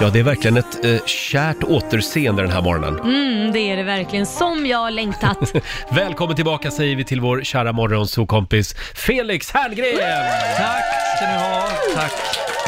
Ja, det är verkligen ett eh, kärt återseende den här morgonen. Mm, det är det verkligen. Som jag har längtat. Välkommen tillbaka säger vi till vår kära morgonsokompis Felix Herngren! Tack ska ni ha. Tack.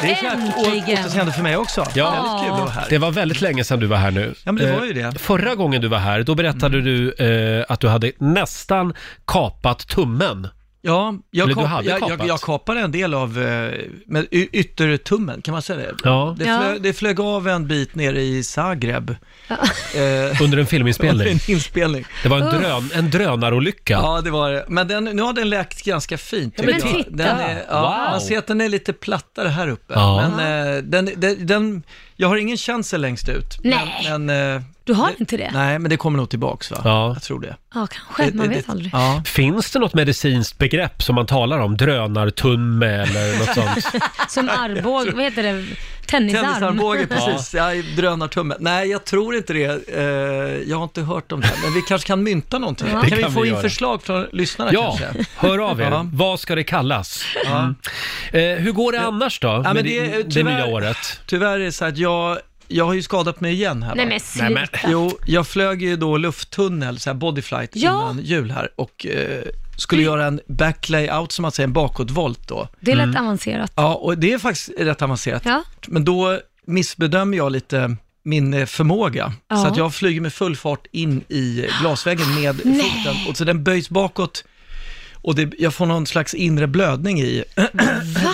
Det är kärt å- Äntligen. återseende för mig också. Ja. Väldigt kul att vara här. Det var väldigt länge sedan du var här nu. Ja, men det Eh, var ju det. Mm. Förra gången du var här, då berättade du eh, att du hade nästan kapat tummen. Ja, jag, Eller du kap- hade jag, kapat. jag, jag kapade en del av eh, med y- yttertummen, kan man säga det? Ja. Det, Ja. flög, det flög av en bit nere i Zagreb. Eh, Under en under filminspelning. en inspelning. Det var en, drön, en drönarolycka. Ja, det var det. Men den, nu har den läkt ganska fint. men tycker jag. titta. Den är, ja, Wow. Man ser att den är lite plattare här uppe. Ja. Men eh, den, den, den, jag har ingen känsel längst ut. Nej. Men, men, eh, Du har inte det? nej, men det kommer nog tillbaks va? Ja. Jag tror det. Ja, kanske. Man Det- vet det- aldrig. Ja. Finns det något medicinskt begrepp som man talar om? Drönartumme eller något sånt? Som armbåge, vad heter det? Tennisarm. Tennisarmbåge, precis. Ja, drönartumme. Nej, jag tror inte det. Eh, jag har inte hört om det, här, men vi kanske kan mynta någonting. Det Kan, kan vi få vi in göra. förslag från lyssnarna Ja, Mm. kanske? hör av er. Ja. Vad ska det kallas? Ja. Eh, hur går det annars då? men med det är det, tyvärr- nya året? Tyvärr är det så att jag, jag har ju skadat mig igen här. va? Nej men sluta. men- Jo, jag flög ju då lufttunnel, så här bodyflight, Ja. innan jul här och eh, skulle göra en backlayout, som man säger, en bakåtvolt då. Det lät Mm. avancerat. Ja, och det är faktiskt rätt avancerat. Ja. Men då missbedömer jag lite min eh, förmåga. Ja. Så att jag flyger med full fart in i glasväggen med foten. Och så den böjs bakåt och det, jag får någon slags inre blödning i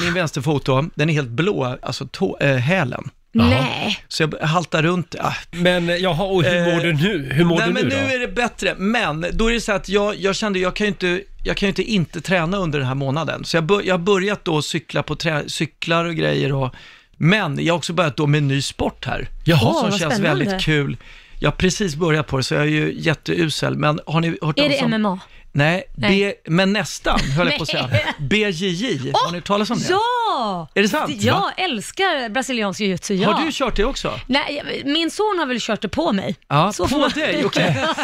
min vänsterfot då. Den är helt blå, alltså tå, eh, hälen. Nej. Så jag haltar runt. Ah. Men eh, jaha, och hur mår Eh, du nu? Hur mår Nej, du men nu nu då? är det bättre. Men då är det så att jag, jag kände, jag kan ju inte, jag kan ju inte inte träna under den här månaden. Så jag, bör, jag har börjat då cykla på trä, cyklar och grejer och, men jag har också börjat då med en ny sport här. Jaha. som Åh, vad känns spännande. väldigt kul. Jag har precis börjat på det, så jag är ju jätteusel. Men har ni hört Är talas det om... MMA? Nej, Nej. B, men nästan, höll jag på att säga. BJJ, har ni hört talas om det? Ja! Är det sant? Va? Jag älskar brasiliansk jiu-jitsu, ja. Har du kört det också? Nej, jag- min son har väl kört det på mig. Ja, Så på får man- dig, okej.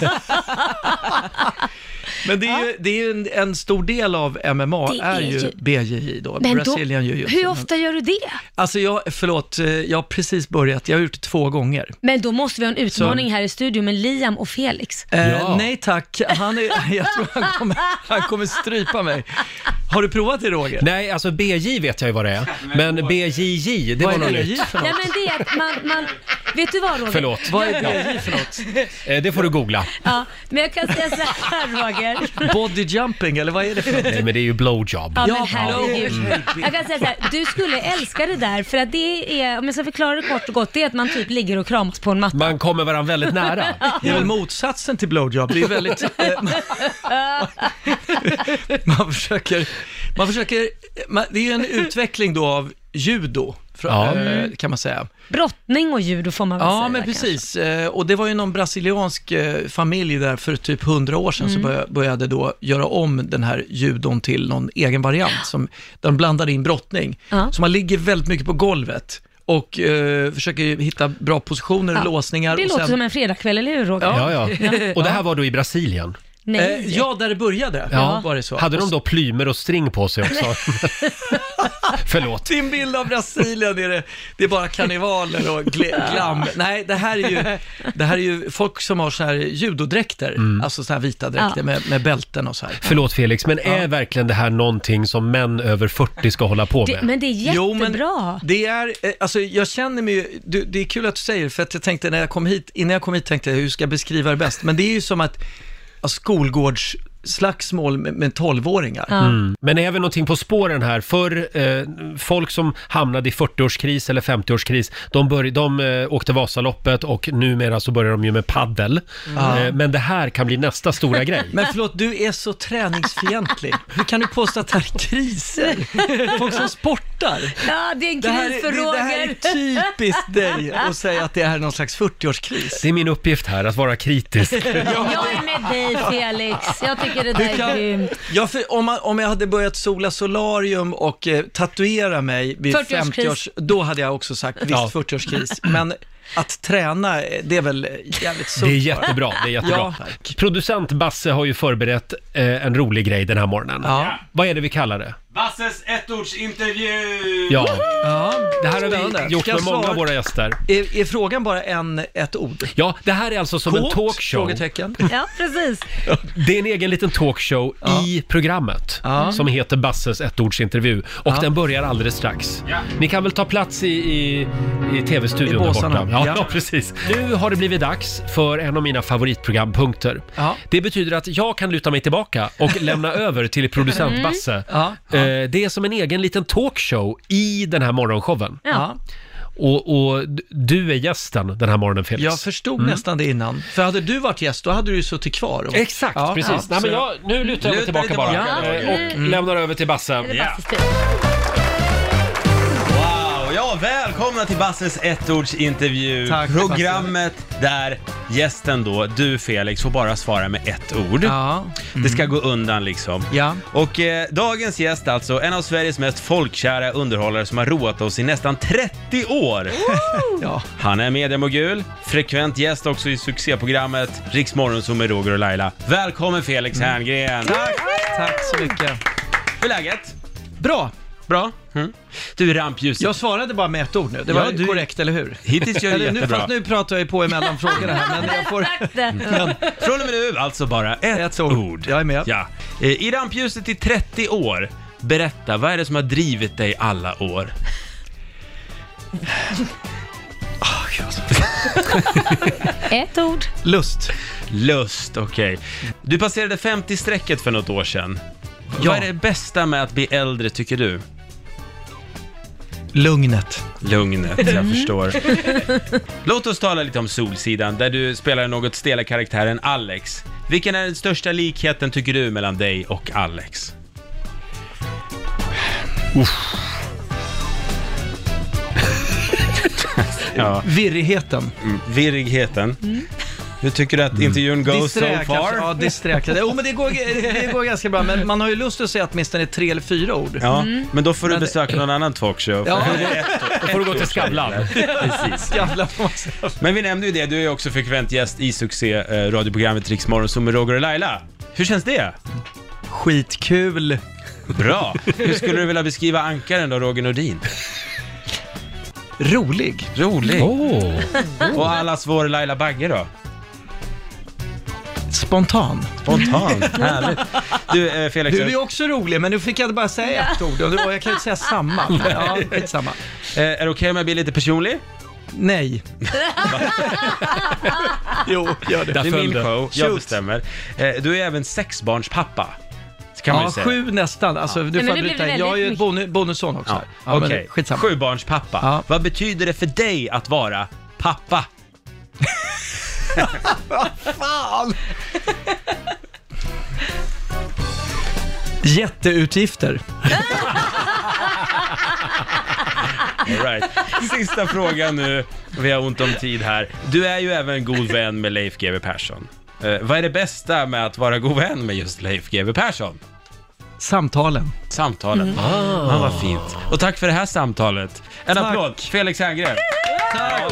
Men det är ju, det är ju en, en stor del av MMA Det är, är ju ju- BJJ då, Men då, Brazilian Jiu-Jitsu. hur ofta gör du det? Alltså jag, förlåt, eh, jag har precis börjat, jag har gjort det två gånger. Men då måste vi ha en utmaning här i studion med Liam och Felix. Eh, Ja. Nej tack, han är, jag tror han kommer, han kommer strypa mig. Har du provat det Roger? Nej, alltså BJ vet jag ju vad det är. Men BJJ, det Vad var är något BJJ nytt. för Nej något? men det är att man, man vet du vad Roger? Förlåt, Vad är BJJ för något? eh, det får du googla. Ja, men jag kan säga så här Roger. Body jumping eller vad är det för något? Nej, men det är ju blowjob. Ja, men Ja, herregud. blowjob. Jag kan säga så här, du skulle älska det där för att det är, om jag ska förklara det kort och gott, det är att man typ ligger och kramas på en matta. Man kommer varandra väldigt nära. Det är väl motsatsen till blowjob. Det är väldigt... eh, man, man försöker... Man försöker man, det är ju en utveckling då av judo, för, Ja. eh, kan man säga. Brottning och judo får Mm. man väl säga. Ja, men kanske. precis. Eh, Och det var ju någon brasiliansk eh, familj där för typ hundra år sedan Mm. så börja- började då göra om den här judon till någon egen variant, som, där de blandade in brottning. Ja. Så man ligger väldigt mycket på golvet och eh, försöker hitta bra positioner och Ja. låsningar. Det och låter som en fredagkväll, eller hur Roger? Ja, ja. Och det här var då i Brasilien. Nej. Eh, ja, där det började Ja. var det så. Hade Och de då plymer och string på sig också? Förlåt. Din bild av Brasilien är det, det är bara karnevaler och gle- glam. Nej, det här är ju, det här är ju folk som har så här judodräkter, Mm. alltså så här vita dräkter Ja. med, med bälten och så här. Förlåt Felix, men är verkligen det här någonting som män över 40 ska hålla på Det, med? men det är jättebra. det är, eh, alltså jag känner mig ju- du, det är kul att du säger det, för att jag tänkte när jag kom hit, innan jag kom hit tänkte jag hur ska jag beskriva det bäst? Men det är ju som att ja, skolgårdsslagsmål med, med tolvåringar. Mm. Men är vi någonting på spåren här? För eh, folk som hamnade i 40-årskris eller 50-årskris, de, bör, de eh, åkte Vasaloppet och numera så börjar de ju med paddel. Eh, men det här kan bli nästa stora grej. Mm. Men förlåt, du är så träningsfientlig. Hur kan du påstå att det här är kriser? Folk som sportar. Ja, det är en Det här, kris är, för det, det här är Roger. typiskt dig att säga att det här är någon slags 40-årskris. Det är min uppgift här, att vara kritisk. Jag är med dig Felix. Jag tycker det Du där kan- är grymt. Ja, för om, man, om jag hade börjat sola solarium och eh, tatuera mig vid 40-årskris. 50 års då hade jag också sagt visst Ja. 40-årskris. Men att träna, eh, det är väl jävligt sunt. Det är bara. jättebra, det är jättebra. Ja, tack. Producent Basse har ju förberett eh, en rolig grej den här morgonen. Ja. Vad är det vi kallar det? Basses ettordsintervju! Ja, Ja, det här har Spännande. vi gjort Ska med jag många svara- av våra gäster. Är, är frågan bara en, ett ord? Ja, det här är alltså som en Kåt? talkshow. Frågetecken. Ja, precis. Det är en egen liten talkshow i programmet Ja. som heter Basses ettordsintervju och den börjar alldeles strax. Ja. Ni kan väl ta plats i, i, i tv-studion I där båsarna. borta. Ja, Ja. ja, precis. Nu har det blivit dags för en av mina favoritprogrampunkter. Ja. Det betyder att jag kan luta mig tillbaka och lämna över till producent Basse. Mm. Ja, Eh, Det är som en egen liten talkshow i den här morgonshowen. Ja, Och, och d- du är gästen den här morgonen Felix. jag förstod Mm. nästan det innan. För hade du varit gäst, då hade du ju suttit kvar. Och... Exakt, Ja, precis. ja. Mm. Nej, men Så- jag, nu lutar jag mig Luta dig tillbaka, bara tillbaka. Eh, och lämnar över till Basse. Det är Ja. Basses tur. Wow! Ja, välkomna till Basses ettordsintervju. Tack, Programmet där gästen då, du Felix, får bara svara med ett ord. Ja, Mm. Det ska gå undan liksom. ja. Och eh, dagens gäst alltså, en av Sveriges mest folkkära underhållare som har roat oss i nästan 30 år. ja. Han är mediamogul, frekvent gäst också i succéprogrammet Riks Morgonzoo med Roger och Laila. Välkommen Felix Herngren! Mm. Tack, tack så mycket. Hur är läget? Bra. Bra? Mm. Du, rampljuset. Jag svarade bara med ett ord nu. Det Ja, var du- korrekt, eller hur? Hittills gör du Eller nu, jättebra. fast nu pratar jag ju på emellan frågorna här, men jag får... Exakt det. Mm. Från och med nu alltså bara ett, Ett ord. ord. Jag är med. Ja. Eh, I rampljuset i 30 år, berätta, vad är det som har drivit dig alla år? Ett ord. Lust. Lust, okej. Du passerade 50-strecket för något år sedan. Ja. Vad är det bästa med att bli äldre, tycker du? Lugnet. Lugnet, Mm. jag förstår. Låt oss tala lite om Solsidan, där du spelar den något stela karaktären Alex. Vilken är den största likheten, tycker du, mellan dig och Alex? Uff. ja. Virrigheten. Virrigheten. Hur tycker du att intervjun goes Disträ so far? kanske. Ja, disträ kanske. Jo, men det går, det går ganska bra. Men man har ju lust att säga åtminstone tre eller fyra ord. Ja, Mm. men då får du Men- besöka någon annan talkshow. Ja. Då får du gå till Skavlan. Precis. Jävlar får man säga. Men vi nämnde ju det, du är också frekvent gäst i succé eh, radioprogrammet Rix Morgonzoo med Roger och Laila. Hur känns det? Skitkul. Bra! Hur skulle du vilja beskriva ankaren då, Roger Nordin? Rolig. Rolig! Åh, Och allas vår Laila Bagge då? Spontan. Spontant, härligt. Du eh, Felix, Du är ju också rolig, men nu fick jag bara säga ett ord. Och det var- jag kan ju inte säga samma. Men Ja, skitsamma. eh, är det okej om jag blir lite personlig? Nej. jo, gör det. där Det är föll min det. show, jag Shoot. bestämmer. Eh, du är även sexbarnspappa. Kan man Ja, ju säga. sju nästan. Alltså, du men får det blev bryta in. Jag är ju väldigt bonu- bonusson också. Ja, här. Ja, men Okej, Skitsamma. sjubarnspappa. Ja. Vad betyder det för dig att vara pappa? Fan! Jätteutgifter. All right. Sista frågan nu, vi har ont om tid här. Du är ju även god vän med Leif GW Persson. Eh, vad är det bästa med att vara god vän med just Leif GW Persson? Samtalen. Samtalen. Mm. Ah, vad fint. Och tack för det här samtalet. En Tack. applåd, Felix Herngren. Ja,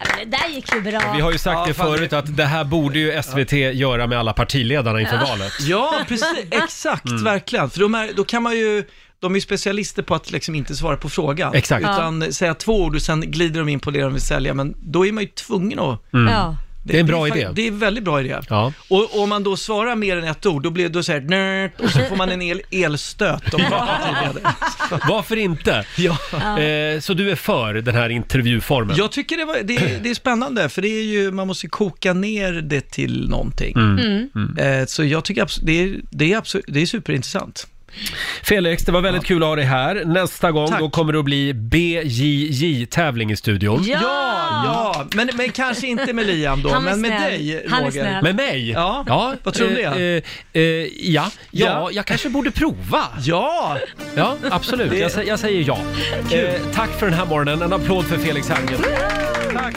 men Det där gick ju Vi bra. har ju sagt Ja, det fan, förut att det här borde ju SVT göra med alla partiledarna inför valet. Ja, precis. Exakt, verkligen. För de är, då kan man ju... De är ju specialister på att liksom inte svara på frågan. Exakt. Utan säga två ord och sen glider de in på det de vill sälja. Men då är man ju tvungen att... Mm. Ja. Det är en bra fakt- idé. Det är en väldigt bra idé. Ja. Och och om man då svarar mer än ett ord, då blir det såhär nört och så får man en el, elstöt. Om man är partiledare. Varför inte? Eh, så du är för den här intervjuformen? Jag tycker det, var, det, det är spännande, för det är ju, man måste koka ner det till någonting. Mm. Eh, Så jag tycker abs- det, är, det, är abs- det är superintressant. Felix, det var väldigt kul att ha dig här. Nästa gång Tack. då kommer det att bli BJJ-tävling i studion. Ja, ja. Men, men kanske inte med Liam då, Han är men med snäll. dig Han är Roger. snäll. Med mig? Ja. Vad tror du eh, det eh, eh, ja. ja, Ja. jag kanske borde prova. Ja, Ja, absolut. Jag, sä- jag säger ja. Eh, tack för den här morgonen. En applåd för Felix Herngren. tack.